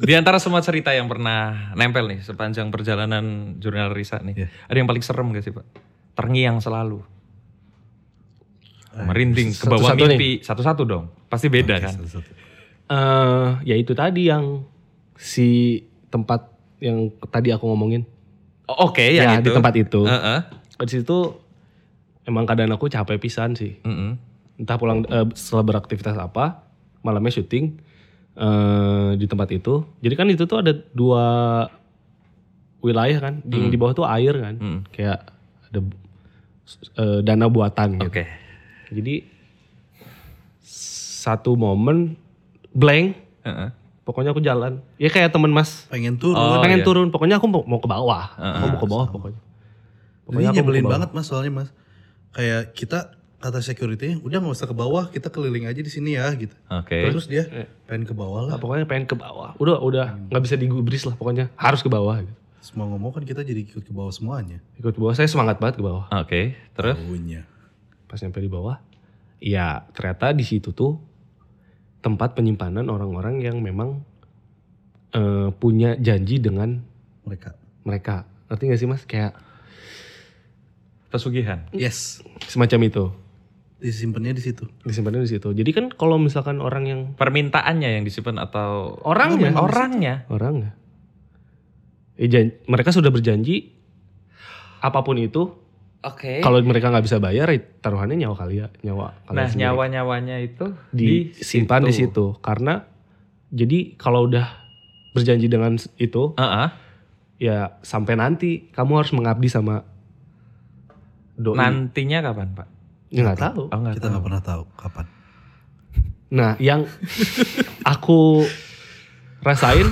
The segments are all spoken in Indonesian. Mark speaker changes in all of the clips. Speaker 1: Di antara semua cerita yang pernah nempel nih sepanjang perjalanan jurnal Risa
Speaker 2: Iya.
Speaker 1: nih, ada yang paling serem gak sih Pak? Terngiang selalu. Iya, Merinding ke bawah
Speaker 2: Eh, satu-satu nih.
Speaker 1: mimpi. Satu-satu dong. Pasti beda kan?
Speaker 2: Eh, ya itu tadi yang si tempat yang tadi aku ngomongin.
Speaker 1: O- Oh, Oke, yang
Speaker 2: Ya,
Speaker 1: itu.
Speaker 2: di tempat itu.
Speaker 1: Heeh.
Speaker 2: Di situ emang keadaan aku capek pisan sih.
Speaker 1: Mm-mm.
Speaker 2: Entah pulang eh, setelah beraktivitas apa, malamnya syuting eh, di tempat itu. Jadi kan itu tuh ada dua wilayah kan. Di, di bawah tuh air kan.
Speaker 1: Mm.
Speaker 2: Kayak ada eh, danau buatan gitu.
Speaker 1: Oke.
Speaker 2: Jadi satu momen blank,
Speaker 1: Heeh.
Speaker 2: pokoknya aku jalan. Ya kayak temen Mas,
Speaker 3: Pengen turun.
Speaker 1: Oh,
Speaker 2: pengen
Speaker 1: iya.
Speaker 2: turun, pokoknya aku mau, mau ke bawah. Aku mau ke bawah pokoknya.
Speaker 3: Ini
Speaker 2: aku mau ke
Speaker 3: nyebelin
Speaker 2: bawah.
Speaker 3: banget mas soalnya mas. Kayak kita kata security udah nggak usah ke bawah, kita keliling aja di sini ya gitu.
Speaker 1: Oke.
Speaker 3: Terus dia pengen ke bawah lah.
Speaker 2: Nah, pokoknya pengen ke bawah. Udah, udah nggak bisa digubris lah pokoknya. Harus ke bawah gitu.
Speaker 3: Semua ngomong kan kita jadi ikut ke bawah semuanya.
Speaker 2: Ikut ke bawah, saya semangat banget ke bawah.
Speaker 1: Oke, terus
Speaker 3: Tahunya.
Speaker 2: Pas nyampe di bawah, ya ternyata di situ tuh tempat penyimpanan orang-orang yang memang eh, punya janji dengan
Speaker 3: mereka.
Speaker 2: mereka. Ngerti gak sih Mas? Kayak
Speaker 1: pesugihan.
Speaker 3: Yes.
Speaker 2: semacam itu.
Speaker 3: Disimpannya di situ.
Speaker 2: disimpannya di situ. Jadi kan kalau misalkan orang yang
Speaker 1: Permintaannya yang disimpan atau
Speaker 2: Orangnya.
Speaker 1: Orangnya.
Speaker 2: orang nggak, eh, jan- mereka sudah berjanji apapun itu
Speaker 1: Oke.
Speaker 2: kalau mereka nggak bisa bayar ya taruhannya nyawa kalian, nyawa kalian
Speaker 1: Nah,
Speaker 2: sendiri.
Speaker 1: nyawa-nyawanya itu
Speaker 2: disimpan di situ karena jadi kalau udah berjanji dengan s- itu
Speaker 1: Heeh.
Speaker 2: ya sampai nanti kamu harus mengabdi sama doi.
Speaker 1: Nantinya kapan, Pak?
Speaker 2: Ya, nggak tahu.
Speaker 1: Oh, nggak
Speaker 3: Kita
Speaker 1: tahu.
Speaker 3: nggak pernah tahu kapan.
Speaker 2: Nah, yang aku rasain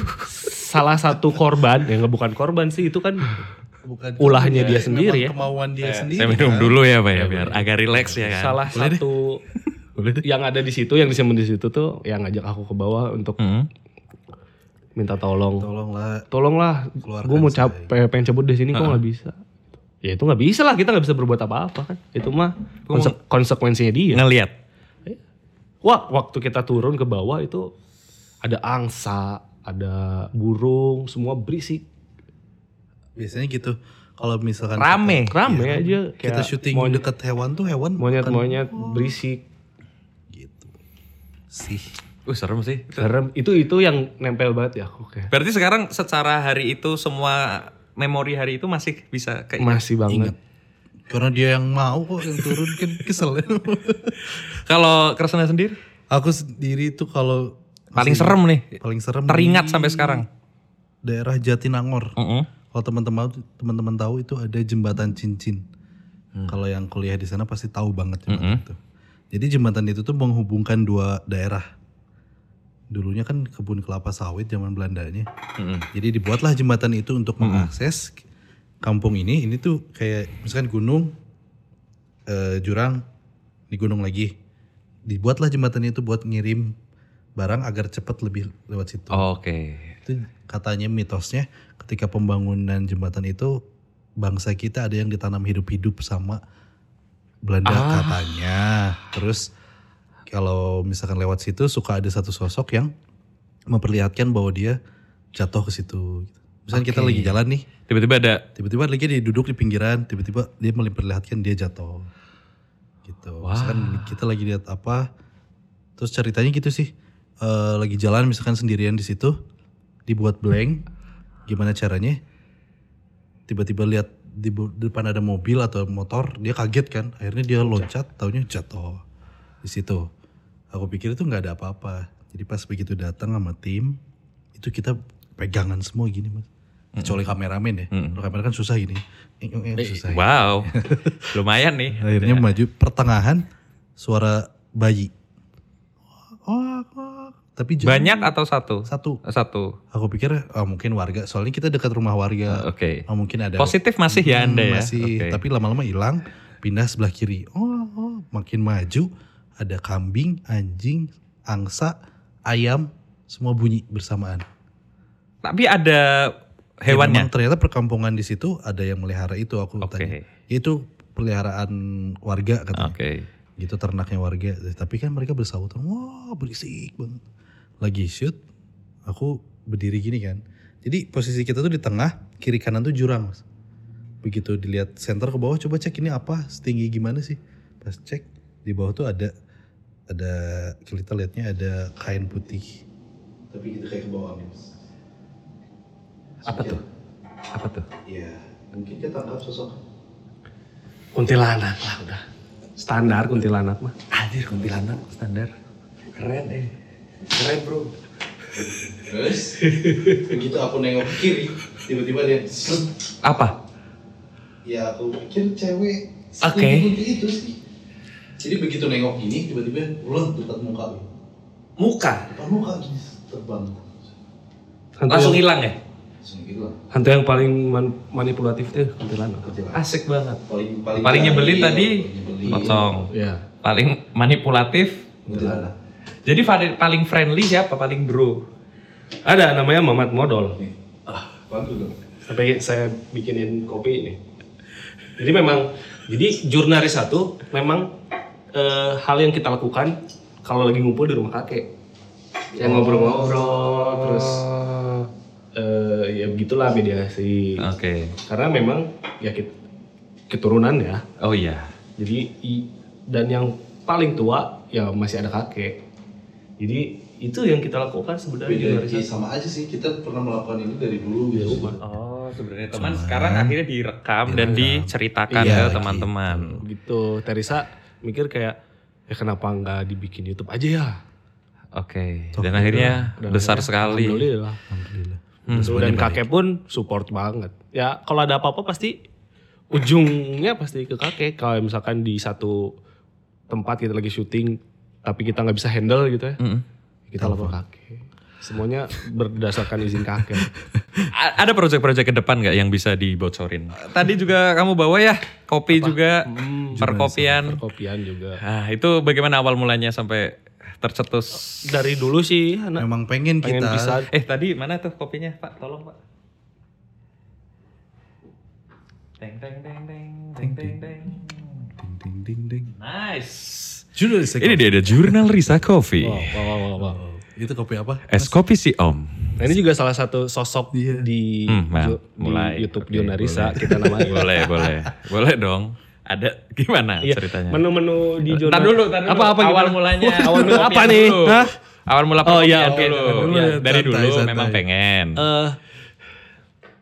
Speaker 2: salah satu korban yang bukan korban sih itu kan
Speaker 3: Bukan
Speaker 2: Ulahnya dia
Speaker 3: Memang
Speaker 2: sendiri ya.
Speaker 3: Kemauan dia sendiri.
Speaker 1: Saya minum dulu ya, Pak ya, biar agak rileks ya kan.
Speaker 2: salah satu
Speaker 3: Boleh deh.
Speaker 2: yang ada di situ yang disimpan di situ tuh yang ngajak aku ke bawah untuk
Speaker 1: Hmm.
Speaker 2: minta tolong
Speaker 3: Tolonglah.
Speaker 2: tolonglah
Speaker 3: Keluarkan
Speaker 2: gue mau
Speaker 3: saya.
Speaker 2: cap pengen cabut dari sini kok nggak bisa ya itu nggak bisa lah kita nggak bisa berbuat apa-apa kan itu mah konse- konsekuensinya dia
Speaker 1: Ngelihat.
Speaker 2: wah waktu kita turun ke bawah itu ada angsa ada burung semua berisik
Speaker 3: Biasanya gitu. Kalau misalkan
Speaker 1: Rame.
Speaker 2: rame
Speaker 3: kita,
Speaker 2: aja
Speaker 3: kita
Speaker 2: kayak
Speaker 3: syuting
Speaker 2: monyet-
Speaker 3: deket hewan tuh hewan
Speaker 2: monyet
Speaker 3: bukan-
Speaker 2: monyet berisik
Speaker 3: gitu sih.
Speaker 1: Uh, serem sih.
Speaker 2: serem itu itu yang nempel banget ya aku kayak
Speaker 1: Berarti sekarang secara hari itu semua memori hari itu masih bisa kayak
Speaker 2: masih banget
Speaker 3: Karena dia yang mau kok yang turun kan kesel.
Speaker 1: Kalau Kresna sendiri
Speaker 3: Aku sendiri tuh kalau
Speaker 1: paling serem nih.
Speaker 3: paling serem
Speaker 1: Teringat sampai sekarang.
Speaker 3: daerah Jatinangor.
Speaker 1: Heeh.
Speaker 3: Kalau teman-teman teman-teman tahu itu ada jembatan cincin. Kalau yang kuliah di sana pasti tahu banget jembatan itu. Jadi jembatan itu tuh menghubungkan dua daerah. Dulunya kan kebun kelapa sawit zaman Belandanya.
Speaker 1: Heeh.
Speaker 3: Jadi dibuatlah jembatan itu untuk mengakses kampung ini. Ini tuh kayak misalkan gunung, eh, jurang, di gunung lagi. Dibuatlah jembatan itu buat ngirim barang agar cepat lebih lewat situ.
Speaker 1: Oke.
Speaker 3: Itu katanya mitosnya ketika pembangunan jembatan itu bangsa kita ada yang ditanam hidup-hidup sama Belanda katanya. Terus kalau misalkan lewat situ suka ada satu sosok yang memperlihatkan bahwa dia jatuh ke situ. Misalkan kita
Speaker 1: Oke.
Speaker 3: lagi jalan nih,
Speaker 1: Tiba-tiba ada
Speaker 3: tiba-tiba lagi dia duduk di pinggiran, tiba-tiba dia memperlihatkan dia jatuh. Gitu. Misalkan kita lagi lihat apa, terus ceritanya gitu sih. Eh, lagi jalan misalkan sendirian di situ, dibuat blank, gimana caranya? Tiba-tiba lihat di bu- depan ada mobil atau motor, dia kaget kan, akhirnya dia loncat, taunya jatuh di situ. Aku pikir itu nggak ada apa-apa. Jadi pas begitu datang sama tim, itu kita pegangan semua gini mas. Kecuali kameramen ya, Kalau kamera kan susah gini, Eng, eng, eng, susah.
Speaker 1: wow. Lumayan nih.
Speaker 3: Akhirnya maju pertengahan suara bayi. Oh, tapi jauh.
Speaker 1: Banyak atau satu?
Speaker 3: satu.
Speaker 1: Satu.
Speaker 3: Aku pikir ah, mungkin warga, soalnya kita dekat rumah warga.
Speaker 1: Oke.
Speaker 3: Ah, mungkin ada
Speaker 1: Positif masih ya
Speaker 3: Hmm,
Speaker 1: Anda ya.
Speaker 3: Masih,
Speaker 1: Oke.
Speaker 3: tapi lama-lama hilang, pindah sebelah kiri. Oh, oh, makin maju ada kambing, anjing, angsa, ayam, semua bunyi bersamaan.
Speaker 1: Tapi ada
Speaker 3: Ya,
Speaker 1: hewannya.
Speaker 3: memang ternyata perkampungan di situ ada yang melihara itu aku
Speaker 1: Oke.
Speaker 3: tanya. Itu peliharaan warga katanya.
Speaker 1: Oke.
Speaker 3: gitu ternaknya warga tapi kan mereka bersautan wah berisik banget lagi shoot aku berdiri gini kan. Jadi posisi kita tuh di tengah, kiri kanan tuh jurang mas. Begitu dilihat center ke bawah, coba cek ini apa, setinggi gimana sih? Pas cek di bawah tuh ada ada kita lihatnya ada kain putih. Tapi kita kayak ke bawah angin. Mas.
Speaker 1: Apa tuh? Apa tuh?
Speaker 3: Iya, mungkin kita anggap sosok.
Speaker 2: Kuntilanak lah udah. Standar kuntilanak mah.
Speaker 1: Anjir kuntilanak standar. Keren eh. Keren bro.
Speaker 3: Terus begitu aku nengok ke kiri, tiba-tiba dia slut.
Speaker 1: Apa?
Speaker 3: Ya aku pikir cewek
Speaker 1: Oke.
Speaker 3: setinggi-tinggi itu sih. Jadi begitu nengok ini tiba-tiba ulet dekat muka gue.
Speaker 1: Muka.
Speaker 3: Depan muka gini terbang.
Speaker 2: Hantu
Speaker 1: Langsung
Speaker 2: yang,
Speaker 1: hilang ya?
Speaker 3: Langsung gitu lah.
Speaker 2: hantu yang paling man- manipulatif eh, tuh kuntilanak.
Speaker 3: Kuntilanak.
Speaker 1: Asik banget.
Speaker 3: Paling
Speaker 1: Paling nyebelin iya, tadi,
Speaker 3: nyebelin. Gitu
Speaker 1: Pocong.
Speaker 2: Iya.
Speaker 1: Paling manipulatif.
Speaker 3: Kuntilanak.
Speaker 1: Jadi fa- paling friendly siapa? Paling bro.
Speaker 2: Ada namanya Mamat Modol.
Speaker 3: Nih. Ah, bantu dong.
Speaker 2: Sampai saya bikinin kopi ini. Jadi memang jadi jurnalis satu memang eh, hal yang kita lakukan kalau lagi ngumpul di rumah kakek. Yang ngobrol-ngobrol terus eh, ya begitulah mediasi.
Speaker 1: Oke.
Speaker 2: Karena memang ya kit- keturunan ya.
Speaker 1: Oh iya.
Speaker 2: Jadi i- dan yang paling tua ya masih ada kakek. Jadi itu yang kita lakukan sebenarnya
Speaker 3: Beda
Speaker 2: jurnalis
Speaker 3: lagi
Speaker 2: satu.
Speaker 3: sama aja sih kita pernah melakukan ini dari dulu
Speaker 2: Ya,
Speaker 3: gitu.
Speaker 2: umat.
Speaker 1: Oh sebenarnya teman
Speaker 3: Cuman-
Speaker 1: sekarang akhirnya direkam dan
Speaker 3: Direkam.
Speaker 1: diceritakan
Speaker 3: Iya,
Speaker 1: ke teman-teman.
Speaker 2: gitu Teresa mikir kayak ya kenapa nggak dibikin YouTube aja ya
Speaker 1: Oke.
Speaker 3: Toh,
Speaker 1: Dan
Speaker 3: udah.
Speaker 1: akhirnya
Speaker 2: Dan
Speaker 1: besar
Speaker 2: akhirnya,
Speaker 1: sekali.
Speaker 2: Alhamdulillah
Speaker 3: Alhamdulillah.
Speaker 1: Hmm.
Speaker 2: Gitu, dan kakek pun support banget ya kalau ada apa-apa pasti ujungnya pasti ke kakek kalau misalkan di satu tempat kita lagi syuting tapi kita nggak bisa handle gitu ya
Speaker 1: Mm-mm.
Speaker 2: kita lapor kakek semuanya berdasarkan izin kakek
Speaker 1: A- ada proyek-proyek ke depan nggak yang bisa dibocorin? Tadi juga kamu bawa ya kopi juga, Hmm. perkopian.
Speaker 2: kopian juga
Speaker 1: Ah, itu bagaimana awal mulanya sampai tercetus?
Speaker 2: dari dulu sih anak
Speaker 3: Memang pengen,
Speaker 2: pengen
Speaker 3: kita
Speaker 2: bisa
Speaker 1: Eh tadi mana tuh kopinya Pak? Tolong Pak. Teng teng teng teng teng teng teng.
Speaker 3: ding ding ding ding.
Speaker 1: Nice.
Speaker 3: Judul Oh,
Speaker 1: Ini dia ada jurnal Risa Coffee.
Speaker 2: wow, wow, wow, wow, wow.
Speaker 3: Itu kopi apa?
Speaker 1: Es kopi si Om.
Speaker 2: Nah ini juga salah satu sosok
Speaker 3: Iya.
Speaker 2: di,
Speaker 1: Hmm, nah,
Speaker 2: ju- di
Speaker 1: mulai.
Speaker 2: YouTube
Speaker 1: Oke,
Speaker 2: Jonarisa
Speaker 1: boleh.
Speaker 2: kita namain.
Speaker 1: boleh, boleh. Boleh dong. Ada gimana
Speaker 2: Iya,
Speaker 1: ceritanya?
Speaker 2: Menu-menu di Jonar.
Speaker 1: Ntar dulu, ntar dulu.
Speaker 2: Apa apa
Speaker 1: awal
Speaker 2: gimana?
Speaker 1: mulanya?
Speaker 2: awal mula
Speaker 1: Kopian
Speaker 2: apa nih?
Speaker 1: dulu.
Speaker 2: Hah?
Speaker 1: Awal mula
Speaker 2: Oh, iya,
Speaker 1: perkopian
Speaker 2: oke,
Speaker 1: dulu.
Speaker 2: oke,
Speaker 3: dulu
Speaker 1: Iya,
Speaker 3: ya,
Speaker 1: dari dulu
Speaker 3: santai, santai.
Speaker 1: memang pengen.
Speaker 2: Eh,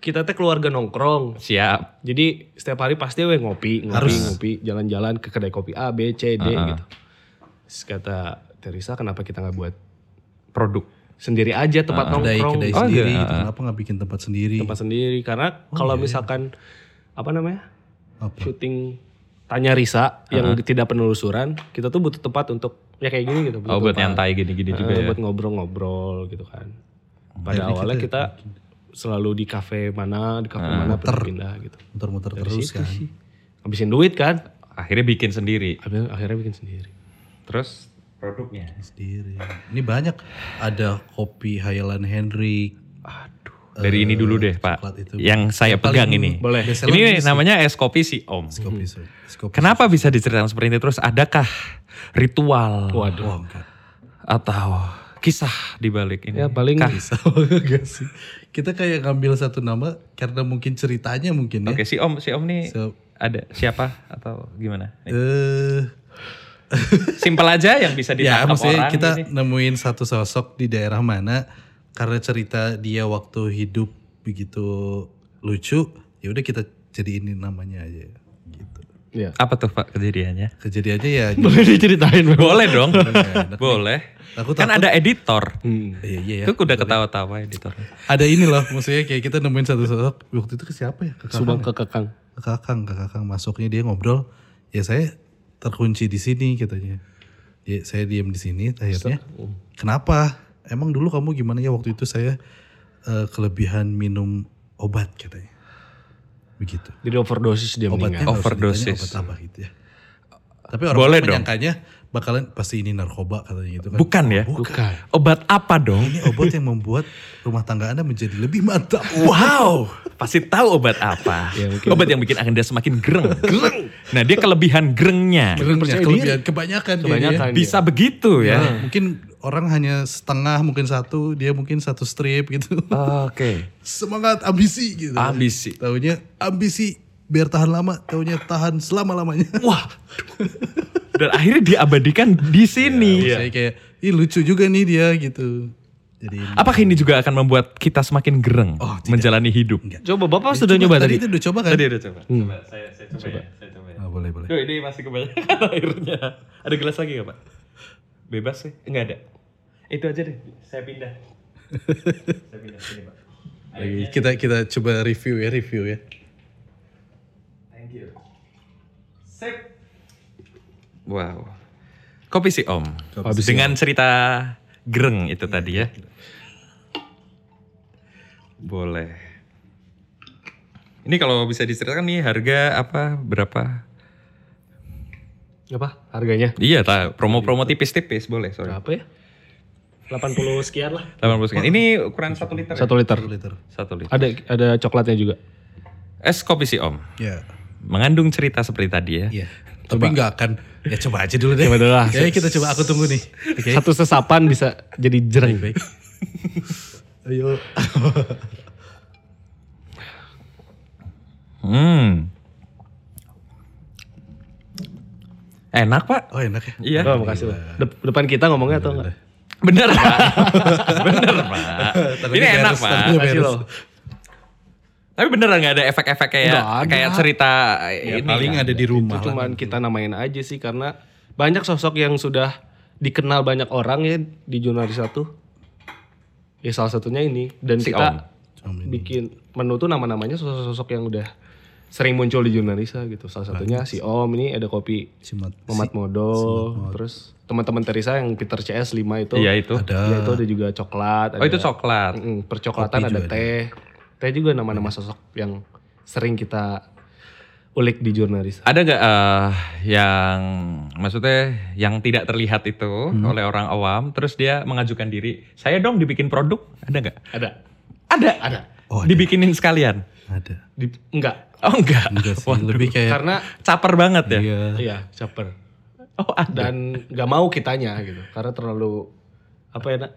Speaker 2: kita teh keluarga nongkrong.
Speaker 1: Siap.
Speaker 2: Jadi setiap hari pasti we ngopi, ngopi,
Speaker 3: Harus.
Speaker 2: ngopi, jalan-jalan ke kedai kopi A, B, C, D
Speaker 1: Uh-uh.
Speaker 2: gitu. Terus kata Teresa kenapa kita nggak buat
Speaker 1: Produk.
Speaker 2: sendiri aja tempat
Speaker 3: kedai
Speaker 2: nongkrong,
Speaker 3: kedai
Speaker 1: Oh,
Speaker 3: sendiri
Speaker 1: iya.
Speaker 3: gitu. kenapa nggak bikin tempat sendiri
Speaker 2: tempat sendiri karena kalau misalkan apa namanya?
Speaker 3: apa
Speaker 2: syuting tanya Risa yang tidak penelusuran, kita tuh butuh tempat untuk ya kayak gini gitu. butuh
Speaker 1: Oh, buat
Speaker 2: tempat,
Speaker 1: nyantai gini-gini
Speaker 2: eh,
Speaker 1: juga ya.
Speaker 2: Buat ngobrol-ngobrol gitu kan. Pada
Speaker 3: Jadi
Speaker 2: awalnya kita, Ah.
Speaker 3: kita-
Speaker 2: selalu di kafe mana, di kafe mana pindah gitu.
Speaker 3: muter-muter
Speaker 2: Dari
Speaker 3: terus
Speaker 2: situ
Speaker 3: kan
Speaker 2: sih. Habisin duit kan,
Speaker 1: Akhirnya bikin sendiri.
Speaker 2: akhirnya, akhirnya bikin sendiri.
Speaker 1: Terus produknya.
Speaker 3: sendiri ini banyak ada kopi Highland Henry
Speaker 1: Dari ini dulu deh, Pak.
Speaker 3: Eh, coklat itu.
Speaker 1: Yang saya
Speaker 3: Yang paling
Speaker 1: pegang ini.
Speaker 2: Boleh.
Speaker 3: best seller
Speaker 1: Ini
Speaker 3: sih,
Speaker 1: namanya es kopi si Om.
Speaker 3: kopi so- es kopi
Speaker 1: Kenapa bisa diceritakan seperti itu terus? Adakah ritual
Speaker 3: so-
Speaker 2: Waduh.
Speaker 3: wah enggak
Speaker 1: atau kisah di balik ini?
Speaker 2: Ya paling
Speaker 1: Kah?
Speaker 3: enggak sih kita kayak ngambil satu nama karena mungkin ceritanya mungkin ya
Speaker 1: Oke, si Om, si Om nih
Speaker 3: So,
Speaker 1: ada siapa atau gimana?
Speaker 3: eh,
Speaker 1: Simpel aja yang bisa
Speaker 3: ya
Speaker 1: ditangkap
Speaker 3: maksudnya
Speaker 1: orang
Speaker 3: kita
Speaker 1: gini.
Speaker 3: nemuin satu sosok di daerah mana karena cerita dia waktu hidup begitu lucu ya udah kita jadiin namanya aja gitu
Speaker 2: Ya.
Speaker 1: Apa tuh Pak kejadiannya?
Speaker 3: kejadiannya ya
Speaker 2: Boleh diceritain Bang?
Speaker 1: Boleh dong.
Speaker 3: Bener.
Speaker 1: Boleh.
Speaker 3: Aku
Speaker 1: Kan
Speaker 3: takut.
Speaker 1: ada editor.
Speaker 2: Hmm.
Speaker 3: Iya, iya ya.
Speaker 1: Itu udah ketawa-tawa editor.
Speaker 3: Ada ini loh, maksudnya kayak kita nemuin satu sosok. Waktu itu ke siapa ya? Ke Kakang.
Speaker 2: Subang
Speaker 3: ya?
Speaker 2: ke Kekang.
Speaker 3: Ke Kakang, ke Kakang masuknya dia ngobrol. Ya saya terkunci di sini katanya. Ya, saya diam di sini akhirnya. Kenapa? Emang dulu kamu gimana ya waktu itu saya eh, kelebihan minum obat katanya. Begitu.
Speaker 2: Jadi overdosis dia meninggal.
Speaker 3: Obatnya nggak usah
Speaker 1: Overdosis.
Speaker 3: ditanya Obat apa gitu ya. Tapi orang
Speaker 1: Boleh
Speaker 3: menyangkanya bakalan pasti ini narkoba katanya gitu kan.
Speaker 1: Bukan ya?
Speaker 3: Bukan.
Speaker 1: Obat apa dong?
Speaker 3: Ini obat yang membuat rumah tangga Anda menjadi lebih mantap.
Speaker 1: Wow, pasti tahu obat apa.
Speaker 2: Ya, mungkin.
Speaker 1: obat yang bikin Anda semakin gereng. gereng. Nah, dia kelebihan gerengnya.
Speaker 3: Bener
Speaker 2: percaya
Speaker 3: kelebihan kebanyakan, dia,
Speaker 2: Kebanyakan.
Speaker 3: dia.
Speaker 1: Bisa begitu ya.
Speaker 3: Nah, mungkin orang hanya setengah, mungkin satu, dia mungkin satu strip gitu.
Speaker 1: Oke.
Speaker 3: Semangat ambisi gitu.
Speaker 1: Ambisi.
Speaker 3: Taunya ambisi biar tahan lama, taunya tahan selama-lamanya.
Speaker 1: Wah. Dan akhirnya diabadikan di sini.
Speaker 2: Iya.
Speaker 3: Saya kayak, ih lucu juga nih dia gitu. Jadi
Speaker 1: Apakah ini juga akan membuat kita semakin gereng
Speaker 3: Oh, tidak.
Speaker 1: menjalani hidup?
Speaker 3: Enggak.
Speaker 2: Coba
Speaker 3: Ya,
Speaker 2: Bapak sudah
Speaker 3: coba
Speaker 2: nyoba
Speaker 3: tadi
Speaker 2: tadi.
Speaker 3: itu udah coba kan?
Speaker 1: Tadi udah coba.
Speaker 2: Hmm.
Speaker 1: Coba, saya, saya coba, ya. Saya coba ya.
Speaker 3: Ah, boleh boleh.
Speaker 1: Duh, ini masih kebanyakan airnya. Ada gelas lagi gak, Pak? Bebas sih? Enggak ada. Itu aja deh. Saya pindah. saya pindah sini, Pak.
Speaker 3: Lagi kita kita coba review ya review ya.
Speaker 1: Thank you. Sip. Wow. Kopi si Om.
Speaker 3: Kopi si
Speaker 1: Dengan cerita gereng itu tadi ya. Boleh. Ini kalau bisa diceritakan nih harga apa berapa?
Speaker 2: Apa? Harganya?
Speaker 1: Iya, ta- promo-promo tipis-tipis boleh, sorry.
Speaker 2: Berapa ya? 80 sekian lah.
Speaker 1: 80 sekian. Ini ukuran 1 liter. ya?
Speaker 2: Satu liter.
Speaker 3: Satu liter.
Speaker 1: Satu liter.
Speaker 2: Ada ada coklatnya juga.
Speaker 1: Es kopi si Om.
Speaker 3: Ya.
Speaker 1: Mengandung cerita seperti tadi ya.
Speaker 3: Iya. Tapi nggak akan. Ya coba aja dulu deh.
Speaker 2: Coba dulu lah.
Speaker 3: Kayaknya kita coba. Aku tunggu nih. Oke.
Speaker 2: Satu sesapan bisa jadi jereng.
Speaker 3: Baik. Ayo.
Speaker 1: Hmm. Enak, Pak.
Speaker 3: Oh enak ya.
Speaker 1: Iya.
Speaker 2: Oh, makasih. Pak. Dep- depan kita ngomongnya atau enggak?
Speaker 1: Bener pak, bener pak. Ini
Speaker 3: Takutnya
Speaker 1: enak
Speaker 3: beres,
Speaker 1: pak.
Speaker 3: takutnya
Speaker 2: Makasih
Speaker 3: beres.
Speaker 2: loh.
Speaker 1: Tapi beneran nggak ada efek-efek kayak
Speaker 2: Nggak ada.
Speaker 1: kayak cerita
Speaker 3: Ya,
Speaker 1: ini.
Speaker 3: paling
Speaker 1: kan?
Speaker 3: ada di rumah.
Speaker 2: Itu
Speaker 3: lah.
Speaker 2: cuman kita namain aja sih karena banyak sosok yang sudah dikenal banyak orang ya di jurnalis satu. Ya salah satunya ini dan
Speaker 1: Si Om.
Speaker 2: kita
Speaker 3: Om ini.
Speaker 2: bikin menu tuh nama-namanya sosok-sosok yang udah sering muncul di jurnalisa gitu. Salah satunya si Om ini ada kopi
Speaker 3: Cimat.
Speaker 2: Mamat Modo, terus teman-teman Teresa yang Peter CS 5 itu.
Speaker 1: Iya itu.
Speaker 3: Ada.
Speaker 2: Ya, itu ada juga coklat,
Speaker 1: Oh itu coklat.
Speaker 2: Mm, percoklatan
Speaker 3: Kopi
Speaker 2: ada
Speaker 3: juga ada.
Speaker 2: teh. Teh juga nama-nama sosok yang sering kita ulik di jurnalis.
Speaker 1: Ada nggak eh, yang maksudnya yang tidak terlihat itu
Speaker 3: Hmm.
Speaker 1: oleh orang awam, terus dia mengajukan diri, saya dong dibikin produk, ada nggak?
Speaker 2: Ada.
Speaker 1: Ada.
Speaker 2: Ada.
Speaker 3: Oh, ada.
Speaker 1: Dibikinin sekalian.
Speaker 3: Ada.
Speaker 2: Di- enggak.
Speaker 1: Oh enggak.
Speaker 3: Enggak sih.
Speaker 1: Waduh.
Speaker 3: Lebih kayak.
Speaker 2: Karena
Speaker 1: Caper banget ya.
Speaker 3: Iya.
Speaker 2: iya, caper.
Speaker 1: Oh ada.
Speaker 2: Dan nggak mau kitanya gitu. Karena terlalu apa ya, Nak?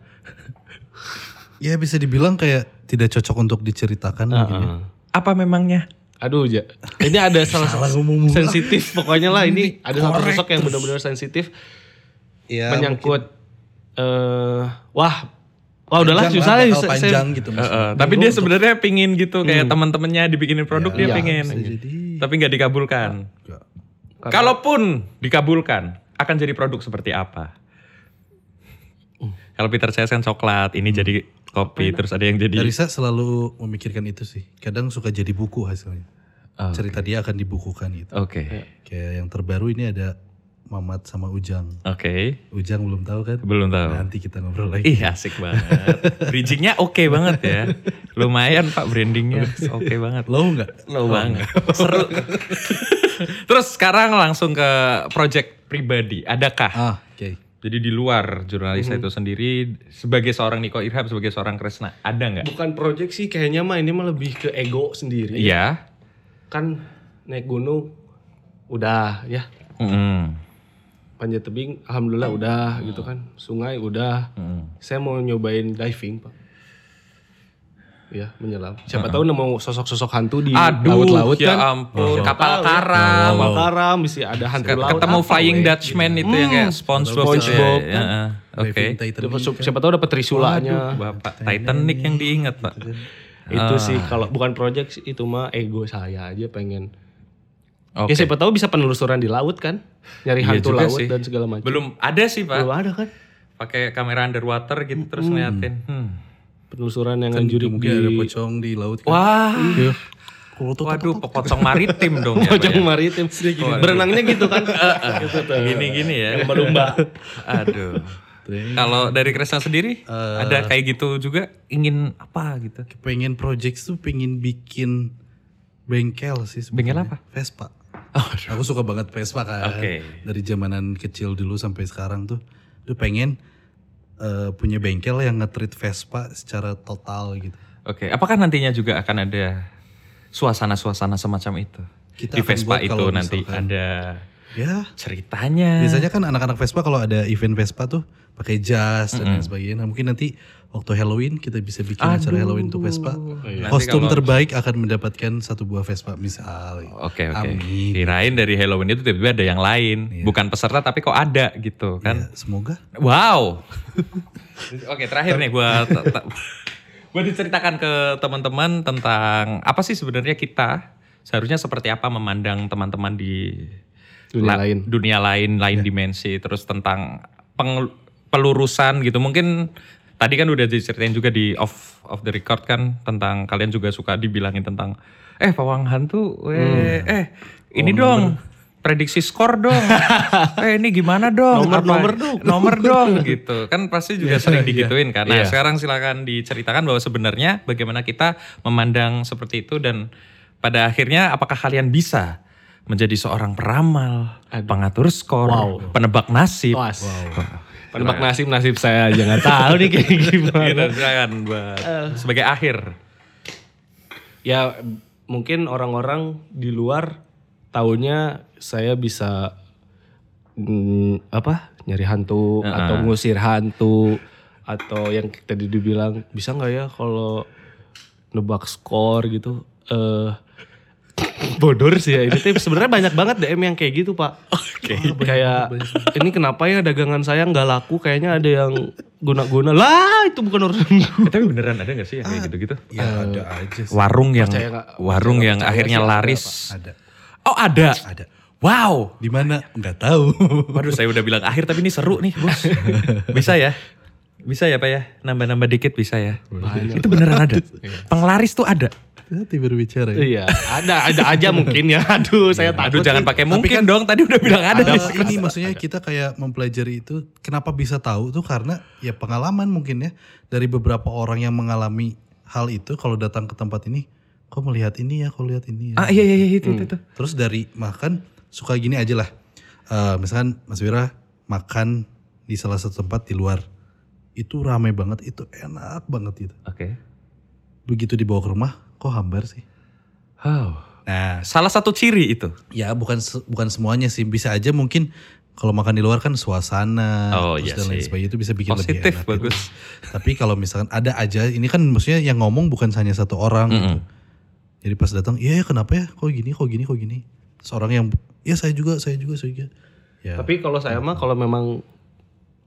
Speaker 3: Ya bisa dibilang kayak tidak cocok untuk diceritakan. mungkin ya.
Speaker 1: Apa memangnya?
Speaker 2: Aduh, ja. ini ada salah satu
Speaker 3: ngomong mulu.
Speaker 2: sensitif pokoknya lah ini ada satu
Speaker 3: korek
Speaker 2: sosok yang benar-benar sensitif
Speaker 3: Iya.
Speaker 2: menyangkut eh wah wah udahlah
Speaker 3: panjang
Speaker 2: susah
Speaker 3: lah,
Speaker 2: ya,
Speaker 3: bakal
Speaker 2: saya-
Speaker 3: panjang
Speaker 2: saya-
Speaker 3: gitu.
Speaker 1: Eh, eh, tapi dia sebenarnya pingin gitu kayak teman-temannya dibikinin produk dia
Speaker 2: Iya,
Speaker 1: pingin.
Speaker 3: Hmm. Ya,
Speaker 1: gitu.
Speaker 3: Bisa jadi.
Speaker 1: Tapi nggak dikabulkan.
Speaker 3: Enggak.
Speaker 1: Kalaupun dikabulkan, akan jadi produk seperti apa? Kalau Peter Chase kan coklat, ini jadi kopi, terus ada yang jadi
Speaker 3: Darisa selalu memikirkan itu sih. Kadang suka jadi buku hasilnya.
Speaker 1: Ah,
Speaker 3: Cerita dia akan dibukukan gitu.
Speaker 1: Oke.
Speaker 3: Kayak yang terbaru ini ada Mamat sama Ujang.
Speaker 1: Oke.
Speaker 3: Ujang belum tahu kan?
Speaker 1: Belum tahu.
Speaker 3: Nanti kita ngobrol lagi.
Speaker 1: Ih, asik banget. Bridgingnya oke banget ya. Lumayan Pak brandingnya. Oke banget.
Speaker 3: Lo nggak?
Speaker 1: Low banget. Seru. terus sekarang langsung ke project pribadi. Adakah
Speaker 3: Ah, oke.
Speaker 1: Jadi di luar jurnalis itu sendiri sebagai seorang Niko Irham sebagai seorang Kresna ada nggak?
Speaker 2: bukan proyek sih kayaknya mah ini mah lebih ke ego sendiri
Speaker 1: Iya.
Speaker 2: kan naik gunung udah ya
Speaker 1: Mm-mm.
Speaker 2: panjat tebing alhamdulillah
Speaker 1: Hmm.
Speaker 2: udah gitu kan sungai udah
Speaker 1: Mm-mm.
Speaker 2: saya mau nyobain diving pak ya menyelam siapa tahu nemu sosok-sosok hantu di
Speaker 1: Hmm. Aduh,
Speaker 2: laut-laut
Speaker 1: ya
Speaker 2: kan
Speaker 1: ampun,
Speaker 2: Siapa
Speaker 1: kapal
Speaker 2: tahu ya.
Speaker 1: karam.
Speaker 2: kapal karam bisa ada hantu
Speaker 1: Ke-
Speaker 2: laut Ah,
Speaker 1: Ketemu
Speaker 2: apa Hmm.
Speaker 1: Flying
Speaker 2: weh.
Speaker 1: Dutchman itu yang kayak SpongeBob.
Speaker 2: SpongeBob,
Speaker 1: gitu ya. Ya, ya. Oke.
Speaker 3: Diving Titan
Speaker 2: Dapat-
Speaker 3: ini
Speaker 2: siapa- siapa tahu dapat trisulanya
Speaker 1: Bapak Titanic yang diingat pak.
Speaker 2: itu sih
Speaker 1: Ah.
Speaker 2: kalau bukan project sih, itu mah ego saya aja pengen
Speaker 1: Oke.
Speaker 2: ya siapa tahu bisa penelusuran di laut kan nyari
Speaker 1: Iya
Speaker 2: hantu
Speaker 1: juga
Speaker 2: laut
Speaker 1: sih.
Speaker 2: dan segala macam
Speaker 1: Belum ada sih
Speaker 2: belum
Speaker 1: pak.
Speaker 2: ada kan
Speaker 1: Pakai kamera underwater gitu terus ngeliatin. Hmm.
Speaker 2: penelusuran yang
Speaker 1: Kan gitu
Speaker 2: juri
Speaker 3: mungkin ada
Speaker 2: di
Speaker 3: pocong di laut. Kan?
Speaker 1: Wah.
Speaker 3: Kalau
Speaker 1: Waduh, pokocong maritim dong ya. Pak, ya.
Speaker 2: pocong maritim berenangnya gitu kan gitu tuh.
Speaker 1: Gini-gini ya.
Speaker 2: lumba
Speaker 1: Aduh. Kalau dari Kresna sendiri
Speaker 2: Eh.
Speaker 1: ada kayak gitu juga ingin apa gitu?
Speaker 3: pengen project tuh pengen bikin bengkel sih.
Speaker 1: Bengkel
Speaker 3: sebenarnya. Vespa. Aku suka banget Vespa kan.
Speaker 1: Oke.
Speaker 3: Dari zamanan kecil dulu sampai sekarang tuh, tuh pengen eh, punya bengkel yang nge-treat Vespa secara total gitu.
Speaker 1: Oke, apakah nantinya juga akan ada suasana-suasana semacam itu?
Speaker 3: Kita
Speaker 1: Di
Speaker 3: akan
Speaker 1: Vespa
Speaker 3: buat
Speaker 1: itu
Speaker 3: kalau
Speaker 1: nanti
Speaker 3: misalkan-
Speaker 1: ada
Speaker 3: Ya,
Speaker 1: ceritanya.
Speaker 3: biasanya kan anak-anak Vespa kalau ada event Vespa tuh pakai jas dan
Speaker 1: Hmm.
Speaker 3: lain sebagainya. Nah, mungkin nanti waktu Halloween kita bisa bikin acara Halloween untuk Vespa.
Speaker 1: Iya, Nanti
Speaker 3: Kostum
Speaker 1: kalau-
Speaker 3: terbaik akan mendapatkan satu buah Vespa misal.
Speaker 1: Oke Iya, oke.
Speaker 3: Amin. Iya.
Speaker 1: Kirain dari Halloween itu tiba-tiba ada yang lain, bukan peserta tapi kok ada gitu
Speaker 3: Ya,
Speaker 1: kan?
Speaker 3: semoga.
Speaker 1: Wow. oke terakhir nih buat buat diceritakan ke teman-teman tentang apa sih sebenarnya kita seharusnya seperti apa memandang teman-teman di
Speaker 2: Dunia
Speaker 1: la-
Speaker 2: lain. Ya.
Speaker 1: dunia lain, lain dimensi, terus tentang peng- pelurusan gitu. Mungkin tadi kan udah diceritain juga di off of the record kan tentang kalian juga suka dibilangin tentang eh pawang hantu, weh,
Speaker 2: Hmm.
Speaker 1: eh ini dong prediksi skor dong, eh ini gimana dong,
Speaker 2: Nomor-
Speaker 1: Apa-
Speaker 2: nomor dong. Iya,
Speaker 1: nomor dong gitu kan pasti juga sering digituin kan. Nah sekarang silakan diceritakan bahwa sebenarnya bagaimana kita memandang seperti itu dan pada akhirnya apakah kalian bisa menjadi seorang peramal, pengatur skor, penebak nasib.
Speaker 2: Awas. Penebak nasib nasib saya aja nggak tahu nih kayak
Speaker 1: Gitu,
Speaker 2: gimana. Eh.
Speaker 1: silakan buat sebagai akhir.
Speaker 2: ya mungkin orang-orang di luar taunya saya bisa mm, apa nyari hantu atau ngusir hantu atau yang tadi dibilang bisa nggak ya kalau nebak skor gitu eh bodor sih ya ini tuh sebenarnya banyak banget DM yang kayak gitu pak kayak ini kenapa ya dagangan saya nggak laku kayaknya ada yang guna-guna lah itu bukan urusan gue
Speaker 1: Eh, tapi beneran ada gak sih yang kayak gitu-gitu?
Speaker 3: Ya ada aja sih.
Speaker 1: Warung yang
Speaker 2: Ah. Percaya nggak?
Speaker 1: warung yang akhirnya laris.
Speaker 3: Ada.
Speaker 1: Oh ada.
Speaker 3: Ada.
Speaker 1: Wow.
Speaker 3: Di mana? Nggak tahu.
Speaker 1: Waduh saya udah bilang akhir tapi ini seru nih bos. Bisa ya? Bisa ya Pak ya? Nambah-nambah dikit bisa ya? Itu beneran ada. Penglaris tuh ada.
Speaker 3: Hati berbicara. ya.
Speaker 2: Iya, ada ada aja mungkin ya. Aduh, saya
Speaker 1: Aduh
Speaker 2: takut.
Speaker 1: jangan pakai mungkin
Speaker 2: kan
Speaker 1: dong. Tadi udah bilang ada.
Speaker 3: Ada Nah, ini maksudnya kita kayak mempelajari itu kenapa bisa tahu tuh karena ya pengalaman mungkin ya dari beberapa orang yang mengalami hal itu kalau datang ke tempat ini kok melihat ini ya kok lihat ini ya.
Speaker 1: Ah iya iya iya itu
Speaker 2: Hmm.
Speaker 1: itu. itu.
Speaker 3: Terus dari makan suka gini aja lah. Eh, misalkan Mas Wira makan di salah satu tempat di luar itu ramai banget itu enak banget gitu.
Speaker 1: Oke.
Speaker 3: Begitu dibawa ke rumah kok hambar sih. Nah
Speaker 1: Salah satu ciri itu.
Speaker 3: Ya bukan se- bukan semuanya sih bisa aja mungkin kalau makan di luar kan suasana
Speaker 1: Oh, iya
Speaker 3: terus dan lain
Speaker 1: sih.
Speaker 3: sebagainya itu bisa bikin
Speaker 1: Positif,
Speaker 3: lebih enak. gitu.
Speaker 1: bagus.
Speaker 3: Tapi kalau misalkan ada aja ini kan maksudnya yang ngomong bukan hanya satu orang. gitu. Jadi pas datang, iya ya, kenapa ya? Kok gini? Kok gini? Kok gini? Terus orang yang ya saya juga, saya juga, saya juga. Ya.
Speaker 2: Tapi kalau saya mah kalau memang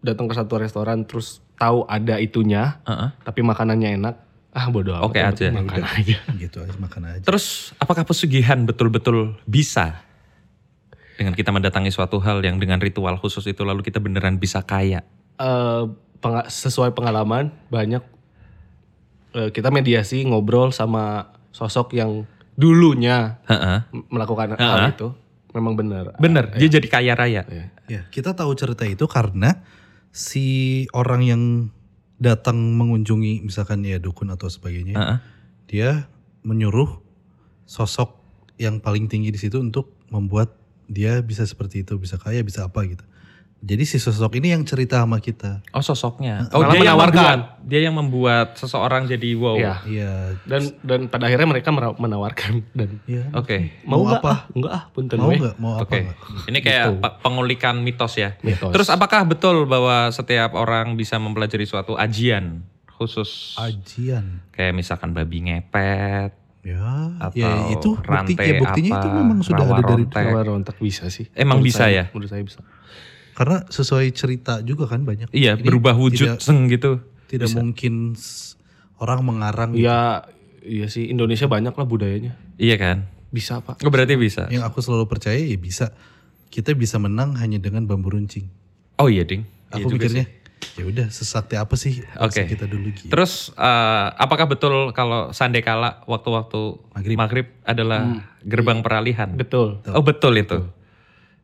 Speaker 2: datang ke satu restoran terus tahu ada itunya,
Speaker 1: Heeh.
Speaker 2: tapi makanannya enak, ah bodo amat.
Speaker 1: Oke
Speaker 2: yang
Speaker 1: aja.
Speaker 2: penting Makan aja.
Speaker 3: gitu aja makan aja.
Speaker 1: Terus apakah pesugihan betul-betul bisa dengan kita mendatangi suatu hal yang dengan ritual khusus itu lalu kita beneran bisa kaya?
Speaker 2: Eh, penga- sesuai pengalaman banyak eh, kita mediasi ngobrol sama sosok yang dulunya
Speaker 1: Heeh. Iya.
Speaker 2: m- melakukan hal itu memang benar. Iya.
Speaker 1: Bener, dia jadi kaya raya. Iya.
Speaker 3: Ya, kita tahu cerita itu karena si orang yang datang mengunjungi misalkan ya dukun atau sebagainya,
Speaker 1: Heeh.
Speaker 3: dia menyuruh sosok yang paling tinggi di situ untuk membuat dia bisa seperti itu, bisa kaya, bisa apa gitu. Jadi si sosok ini yang cerita sama kita.
Speaker 1: Oh sosoknya.
Speaker 2: Malah
Speaker 1: yang
Speaker 2: menawarkan.
Speaker 1: membuat- dia yang membuat seseorang jadi wow.
Speaker 2: Iya.
Speaker 3: Iya.
Speaker 2: Dan dan pada akhirnya mereka mera- menawarkan dan
Speaker 3: Iya.
Speaker 1: Oke.
Speaker 2: mau,
Speaker 3: Mau
Speaker 2: nggak
Speaker 3: apa?
Speaker 2: ah? Enggak ah, punten
Speaker 3: Mau
Speaker 2: weh.
Speaker 3: nggak? Mau apa
Speaker 1: Oh, gitu Oke.
Speaker 3: nggak?
Speaker 1: Ini kayak pe- pengulikan Gitu. mitos ya.
Speaker 2: Mitos.
Speaker 1: Terus apakah betul bahwa setiap orang bisa mempelajari suatu ajian khusus
Speaker 3: Ajian.
Speaker 1: kayak misalkan babi ngepet?
Speaker 3: Ya.
Speaker 1: Atau
Speaker 3: ya itu bukti,
Speaker 1: rantai
Speaker 3: ya buktinya itu
Speaker 1: apa,
Speaker 3: memang sudah
Speaker 1: rawa
Speaker 3: ada dari
Speaker 1: rontek.
Speaker 2: Rawa rontek bisa sih.
Speaker 1: Emang
Speaker 2: Menurut
Speaker 1: bisa
Speaker 2: saya,
Speaker 1: ya?
Speaker 2: Menurut saya bisa.
Speaker 3: karena sesuai cerita juga kan banyak.
Speaker 1: Iya,
Speaker 3: Ini
Speaker 1: berubah wujud
Speaker 3: Tidak,
Speaker 1: seng gitu.
Speaker 3: tidak mungkin s- orang mengarang gitu.
Speaker 2: Iya, iya sih Indonesia banyak lah budayanya.
Speaker 1: Iya kan?
Speaker 2: Bisa pak.
Speaker 1: Oh berarti bisa.
Speaker 3: Yang aku selalu percaya ya bisa. Kita bisa menang hanya dengan bambu runcing.
Speaker 1: Oh iya ding. Iya
Speaker 3: Aku
Speaker 1: juga sih.
Speaker 3: mikirnya ya udah sesakti apa sih
Speaker 1: Oke.
Speaker 3: bangsa kita dulu gitu.
Speaker 1: Terus eh, apakah betul kalau sandai kala waktu-waktu
Speaker 3: Maghrib.
Speaker 1: maghrib. adalah gerbang peralihan?
Speaker 2: Betul.
Speaker 1: Oh betul itu.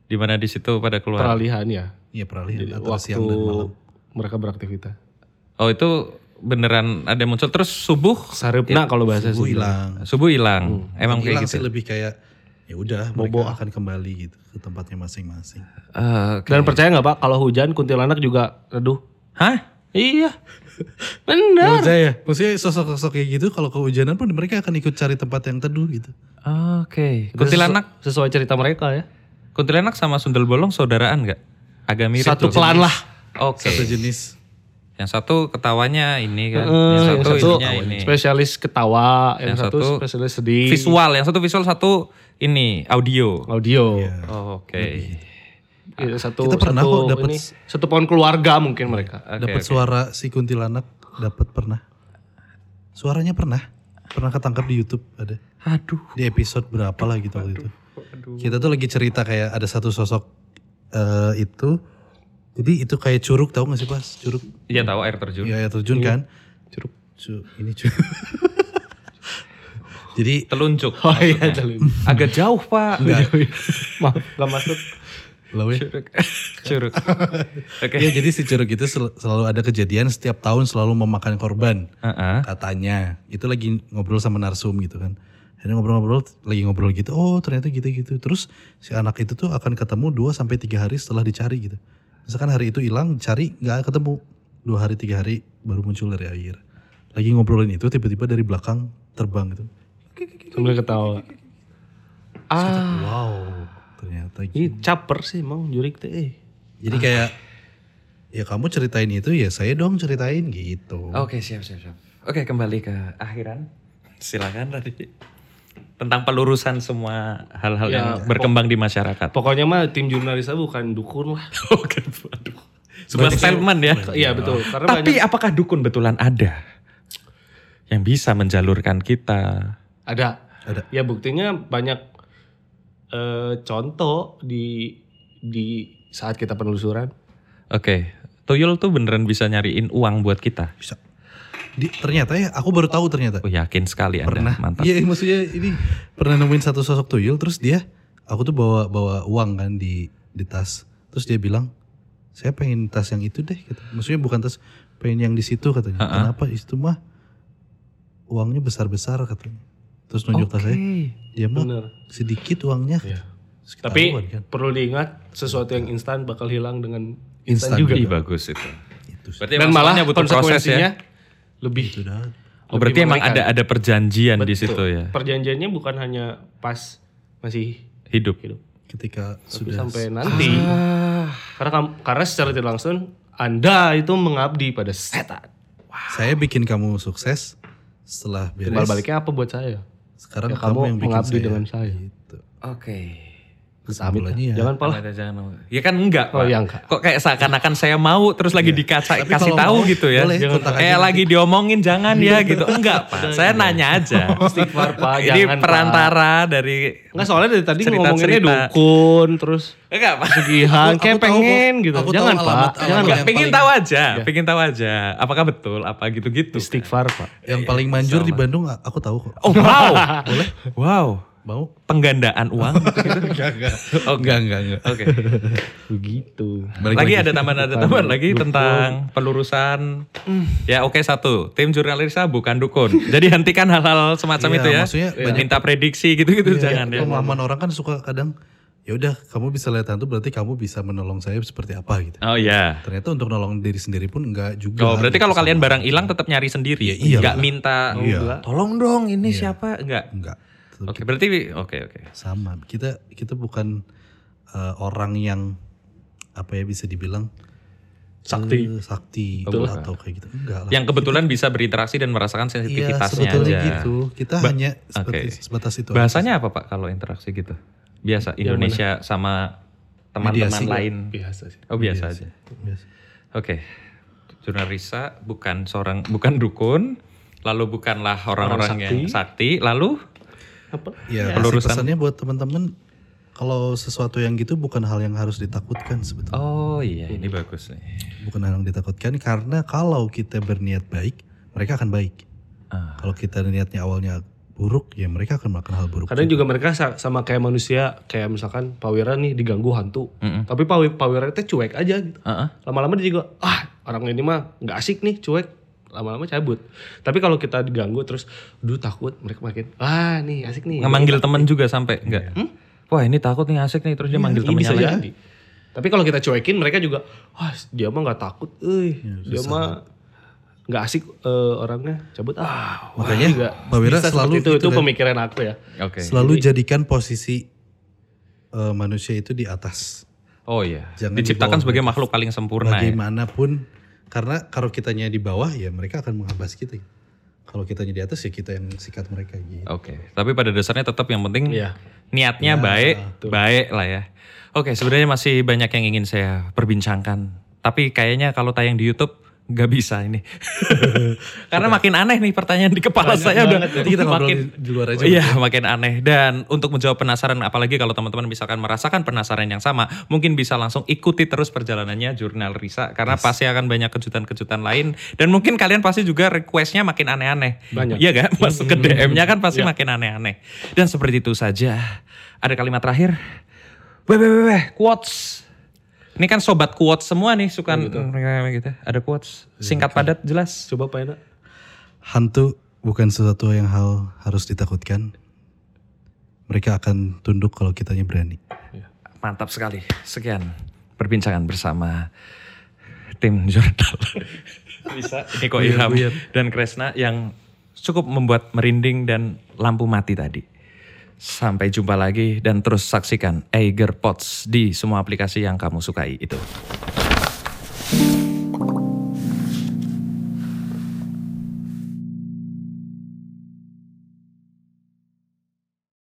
Speaker 1: Dimana di situ pada keluar.
Speaker 2: Peralihan ya.
Speaker 3: Iya peralihan
Speaker 2: Jadi
Speaker 3: antara
Speaker 2: waktu
Speaker 3: siang dan malam.
Speaker 2: mereka beraktivitas.
Speaker 1: Oh itu beneran ada muncul. Terus subuh, Iya.
Speaker 2: Sarepna Nah, kalau bahasa
Speaker 3: Subuh
Speaker 2: sih.
Speaker 3: hilang.
Speaker 1: subuh hilang. Emang
Speaker 3: Hilang
Speaker 1: kayak gitu.
Speaker 3: sih lebih kayak ya udah
Speaker 2: Bobo.
Speaker 3: mereka akan kembali gitu ke tempatnya masing-masing.
Speaker 1: Eh,
Speaker 2: Dan percaya nggak pak kalau hujan kuntilanak juga reduh?
Speaker 1: Hah?
Speaker 2: Iya, benar.
Speaker 3: Percaya? Ya Maksudnya sosok-sosok kayak gitu kalau kehujanan pun mereka akan ikut cari tempat yang teduh gitu.
Speaker 1: Oke. Kuntilanak,
Speaker 2: sesuai cerita mereka ya.
Speaker 1: kuntilanak sama sundel bolong saudaraan nggak? Agak mirip.
Speaker 2: Satu
Speaker 1: tuh.
Speaker 2: pelan lah.
Speaker 1: Oke.
Speaker 3: Satu jenis.
Speaker 1: Yang satu ketawanya ini kan,
Speaker 2: Eh,
Speaker 1: yang satu,
Speaker 2: yang satu
Speaker 1: ininya ini.
Speaker 2: spesialis ketawa, yang,
Speaker 1: Yang
Speaker 2: satu,
Speaker 1: satu
Speaker 2: spesialis sedih.
Speaker 1: Visual, yang satu visual, satu ini audio.
Speaker 2: Audio.
Speaker 1: Oh, Oke. Ah,
Speaker 2: Iya, satu
Speaker 3: Kita pernah
Speaker 2: satu
Speaker 3: kok dapet
Speaker 2: ini, satu pohon keluarga mungkin mereka.
Speaker 1: Oke,
Speaker 3: dapat
Speaker 1: oke.
Speaker 3: suara si kuntilanak, dapat pernah. Suaranya pernah, pernah ketangkap di YouTube ada.
Speaker 1: Aduh.
Speaker 3: di episode berapa lah gitu waktu itu. Kita tuh lagi cerita kayak ada satu sosok eh, itu. Jadi itu kayak curug tahu gak sih pas curug?
Speaker 1: Iya tahu air terjun.
Speaker 3: Iya ya terjun kan. Curug. Cu- ini curug. Jadi
Speaker 1: Telunjuk.
Speaker 2: Oh iya,
Speaker 1: maksudnya.
Speaker 2: jauh.
Speaker 1: Agak jauh pak.
Speaker 2: Maaf, nggak masuk.
Speaker 3: Lawe.
Speaker 1: Curug. Curug. Oke.
Speaker 3: Ya jadi si curug itu sel- selalu ada kejadian setiap tahun selalu memakan korban.
Speaker 1: Heeh.
Speaker 3: katanya itu lagi ngobrol sama narsum gitu kan akhirnya ngobrol-ngobrol lagi ngobrol gitu oh ternyata gitu-gitu terus si anak itu tuh akan ketemu 2 sampai tiga hari setelah dicari gitu misalkan hari itu hilang cari nggak ketemu dua hari tiga hari baru muncul dari air lagi ngobrolin itu tiba-tiba dari belakang terbang gitu
Speaker 2: Sambil ketawa. Ah,
Speaker 3: wow ternyata gitu
Speaker 2: ini caper sih emang jurik teh. eh.
Speaker 3: jadi kayak ya kamu ceritain itu ya saya dong ceritain gitu
Speaker 1: Oke siap siap siap. Oke kembali ke akhiran. Silakan tadi tentang pelurusan semua hal-hal
Speaker 2: Ya,
Speaker 1: yang berkembang di masyarakat.
Speaker 2: Pokoknya mah tim jurnalisnya bukan dukun lah.
Speaker 1: Oke, aduh. Sebuah statement ya.
Speaker 2: Iya betul. Karena
Speaker 1: Tapi
Speaker 2: banyak
Speaker 1: apakah dukun betulan ada yang bisa menjalurkan kita?
Speaker 2: ada.
Speaker 3: Ada.
Speaker 2: Ya buktinya banyak eh, contoh di di saat kita penelusuran.
Speaker 1: Oke, tuyul tuh beneran bisa nyariin uang buat kita.
Speaker 3: bisa Di- ternyata ya aku baru tahu ternyata
Speaker 1: Oh yakin sekali
Speaker 3: pernah
Speaker 1: Anda, mantap.
Speaker 3: iya maksudnya ini pernah nemuin satu sosok tuyul terus dia aku tuh bawa bawa uang kan di di tas terus dia bilang saya pengen tas yang itu deh kata. maksudnya bukan tas pengen yang di situ katanya
Speaker 1: Ha-ha.
Speaker 3: kenapa itu mah uangnya besar besar katanya terus nunjuk tas saya dia mah
Speaker 2: Bener.
Speaker 3: sedikit uangnya
Speaker 2: Iya.
Speaker 3: Terus
Speaker 2: Tapi
Speaker 3: ketahuan kan.
Speaker 2: perlu diingat sesuatu yang instan bakal hilang dengan
Speaker 3: Instan
Speaker 2: instan juga.
Speaker 1: Ih, bagus itu.
Speaker 3: itu sih.
Speaker 1: Berarti
Speaker 2: Dan
Speaker 1: emang
Speaker 2: malah
Speaker 1: semuanya butuh proses ya.
Speaker 2: konsekuensinya lebih.
Speaker 3: Itu dah.
Speaker 1: Oh, berarti
Speaker 2: lebih
Speaker 1: emang
Speaker 2: mengerikan.
Speaker 1: ada ada perjanjian di
Speaker 2: Betul.
Speaker 1: situ ya.
Speaker 2: Perjanjiannya bukan hanya pas masih
Speaker 1: Hidup.
Speaker 2: hidup,
Speaker 3: ketika
Speaker 2: tapi
Speaker 3: sudah Ah.
Speaker 2: sampai nanti. Karena kam- karena secara tidak langsung Anda itu mengabdi pada setan.
Speaker 3: saya bikin kamu sukses setelah beres
Speaker 2: Timbal baliknya apa buat saya?
Speaker 3: sekarang
Speaker 2: Ya,
Speaker 3: kamu,
Speaker 2: kamu
Speaker 3: yang bikin
Speaker 2: mengabdi
Speaker 3: saya
Speaker 2: dengan saya.
Speaker 3: Gitu.
Speaker 1: Oke.
Speaker 3: Kesimpulannya ya
Speaker 2: Gitu. Jangan pala.
Speaker 1: Ada jangan mau. Ya kan enggak,
Speaker 2: Oh,
Speaker 1: Pak.
Speaker 2: ya enggak. Iya.
Speaker 1: Kok kayak seakan-akan saya mau terus lagi dikaca
Speaker 3: Tapi
Speaker 1: kasih
Speaker 3: kalau
Speaker 1: tahu
Speaker 3: mau,
Speaker 1: gitu ya.
Speaker 3: boleh,
Speaker 1: Jangan.
Speaker 3: kontak
Speaker 1: Kayak
Speaker 3: aja
Speaker 1: lagi diomongin jangan ya gitu. Enggak, Pak. Saya nanya aja.
Speaker 2: ya. Istighfar, Pak,
Speaker 1: Ini
Speaker 2: jangan, Pak.
Speaker 1: perantara dari
Speaker 2: Enggak soalnya dari tadi
Speaker 1: Cerita-cerita.
Speaker 2: ngomonginnya dukun terus
Speaker 1: Enggak, Pak.
Speaker 2: pesugihan
Speaker 3: Aku- aku
Speaker 2: kayak
Speaker 3: tahu
Speaker 2: pengen
Speaker 3: kok.
Speaker 2: gitu.
Speaker 3: Aku tahu
Speaker 2: Jangan,
Speaker 3: alamat-
Speaker 2: Pak.
Speaker 1: Enggak,
Speaker 3: alamat
Speaker 2: Jangan, Pak. Iya.
Speaker 3: yang
Speaker 1: pengen
Speaker 3: paling-
Speaker 1: tahu aja, pengen tahu aja. Apakah betul apa gitu-gitu.
Speaker 2: gitu. Istighfar, Pak.
Speaker 1: Eh,
Speaker 3: Yang paling manjur di Bandung a- aku tahu kok.
Speaker 1: Oh, wow. Boleh? Wow.
Speaker 3: Mau?
Speaker 1: Penggandaan uang gitu.
Speaker 3: enggak, enggak.
Speaker 1: Oh,
Speaker 3: Enggak, enggak, enggak.
Speaker 1: Oke.
Speaker 2: Begitu.
Speaker 3: Balik
Speaker 1: lagi,
Speaker 3: lagi.
Speaker 1: ada tambahan ada tambahan lagi tentang pelurusan. Ya oke satu, tim jurnalisnya bukan dukun. Jadi hentikan hal-hal semacam
Speaker 3: Iya,
Speaker 1: itu ya.
Speaker 3: maksudnya banyak- Iya,
Speaker 1: Minta prediksi gitu-gitu jangan ya.
Speaker 3: Pemahaman orang kan suka kadang ya udah kamu bisa lihat hantu berarti kamu bisa menolong saya seperti apa gitu.
Speaker 1: Oh iya.
Speaker 3: Ternyata untuk nolong diri sendiri pun enggak juga. gitu
Speaker 1: Oh, berarti kalau
Speaker 3: Sama.
Speaker 1: kalian barang hilang tetap nyari sendiri.
Speaker 3: Iya, iya
Speaker 1: Nggak
Speaker 3: lah.
Speaker 1: minta Oh,
Speaker 3: Iya.
Speaker 1: tolong dong ini siapa? Enggak.
Speaker 3: enggak. Tetap
Speaker 1: Oke, berarti oke oke.
Speaker 3: sama. Kita kita bukan eh, orang yang apa ya bisa dibilang
Speaker 2: Sakti.
Speaker 3: eh, sakti
Speaker 1: Betul.
Speaker 3: atau kayak gitu. Enggak lah.
Speaker 1: Yang kebetulan bisa berinteraksi dan merasakan
Speaker 3: Iya,
Speaker 1: sensitivitasnya
Speaker 3: sebetulnya
Speaker 1: aja.
Speaker 3: gitu. Kita
Speaker 1: Ba-
Speaker 3: hanya seperti
Speaker 1: oke.
Speaker 3: sebatas itu. aja.
Speaker 1: Bahasanya apa Pak kalau interaksi gitu? Biasa Indonesia sama teman-teman
Speaker 3: Mediasi.
Speaker 1: lain.
Speaker 2: Biasa sih.
Speaker 1: Oh, biasa aja.
Speaker 3: Iya Biasa.
Speaker 1: Oke, jurnalisa bukan seorang bukan dukun, lalu bukanlah orang-orang
Speaker 2: Orang sakti.
Speaker 1: yang sakti, lalu
Speaker 2: Apa?
Speaker 3: Ya, pasti
Speaker 1: Pelurusan.
Speaker 3: pesannya buat teman-teman kalau sesuatu yang gitu bukan hal yang harus ditakutkan sebetulnya.
Speaker 1: oh iya ini bagus nih.
Speaker 3: Bukan hal yang ditakutkan karena kalau kita berniat baik, mereka akan baik.
Speaker 1: Ah.
Speaker 3: Kalau kita niatnya awalnya buruk, ya mereka akan makan hal buruk.
Speaker 2: Kadang juga mereka sa- sama kayak manusia, kayak misalkan Pak Wira nih diganggu hantu.
Speaker 1: Mm-mm.
Speaker 3: Hmm.
Speaker 2: Tapi Pak Wi- Pak Wira teh cuek aja gitu.
Speaker 1: Ah, ah.
Speaker 2: Lama-lama dia juga, ah orang ini mah nggak asik nih cuek. lama-lama cabut. Tapi kalau kita diganggu terus, duh takut, mereka makin, wah nih asik nih.
Speaker 1: Ngemanggil temen juga sampai enggak? Wah ini takut nih asik nih terus dia manggil
Speaker 2: Iya,
Speaker 1: temennya
Speaker 2: bisa
Speaker 1: lagi.
Speaker 2: jadi. Tapi kalau kita cuekin mereka juga, wah dia mah nggak takut, euy. dia
Speaker 3: Iya, susah.
Speaker 2: mah nggak asik eh, orangnya, cabut ah. wah,
Speaker 3: Makanya,
Speaker 2: juga
Speaker 3: Mbak Wira
Speaker 2: bisa
Speaker 3: selalu
Speaker 2: seperti itu,
Speaker 3: gitu
Speaker 2: itu
Speaker 3: kan.
Speaker 2: pemikiran aku ya.
Speaker 1: Oke.
Speaker 3: Selalu jadikan posisi eh, manusia itu di atas.
Speaker 1: Oh iya.
Speaker 3: Jangan
Speaker 1: Diciptakan
Speaker 3: dibawa
Speaker 1: sebagai makhluk paling sempurna ya.
Speaker 3: Bagaimanapun karena kalau kitanya di bawah ya mereka akan menghambas kita. Kalau kitanya di atas ya kita yang sikat mereka gitu.
Speaker 1: Oke. Tapi pada dasarnya tetap yang penting
Speaker 3: Hmm.
Speaker 2: Iya.
Speaker 1: niatnya
Speaker 3: Ya,
Speaker 1: baik,
Speaker 2: betul.
Speaker 1: baik lah ya. Oke, sebenarnya masih banyak yang ingin saya perbincangkan. Tapi kayaknya kalau tayang di YouTube nggak bisa ini. Karena makin aneh nih pertanyaan di kepala
Speaker 2: Banyak
Speaker 1: saya udah
Speaker 2: banget.
Speaker 3: Nanti kita ngobrol
Speaker 1: makin
Speaker 3: di, di luar aja.
Speaker 1: Iya, makin aneh. Dan untuk menjawab penasaran, apalagi kalau teman-teman misalkan merasakan penasaran yang sama, mungkin bisa langsung ikuti terus perjalanannya jurnal Risa, karena pasti akan banyak kejutan-kejutan lain. Dan mungkin kalian pasti juga requestnya makin aneh-aneh.
Speaker 2: Banyak.
Speaker 1: Iya gak? Masuk ke DM-nya kan pasti makin aneh-aneh. Dan seperti itu saja. Ada kalimat terakhir. Weh, weh, weh, weh, quotes. Ini kan sobat quotes semua nih, suka gitu. Ada quotes, singkat padat, jelas.
Speaker 2: Coba Pak Ena.
Speaker 3: Hantu bukan sesuatu yang hal harus ditakutkan. Mereka akan tunduk kalau kitanya berani.
Speaker 1: Mantap sekali. Sekian perbincangan bersama tim Jordal. Bisa. Niko Ilham dan Kresna yang cukup membuat merinding dan lampu mati tadi. Sampai jumpa lagi dan terus saksikan Eiger Pots di semua aplikasi yang kamu sukai itu.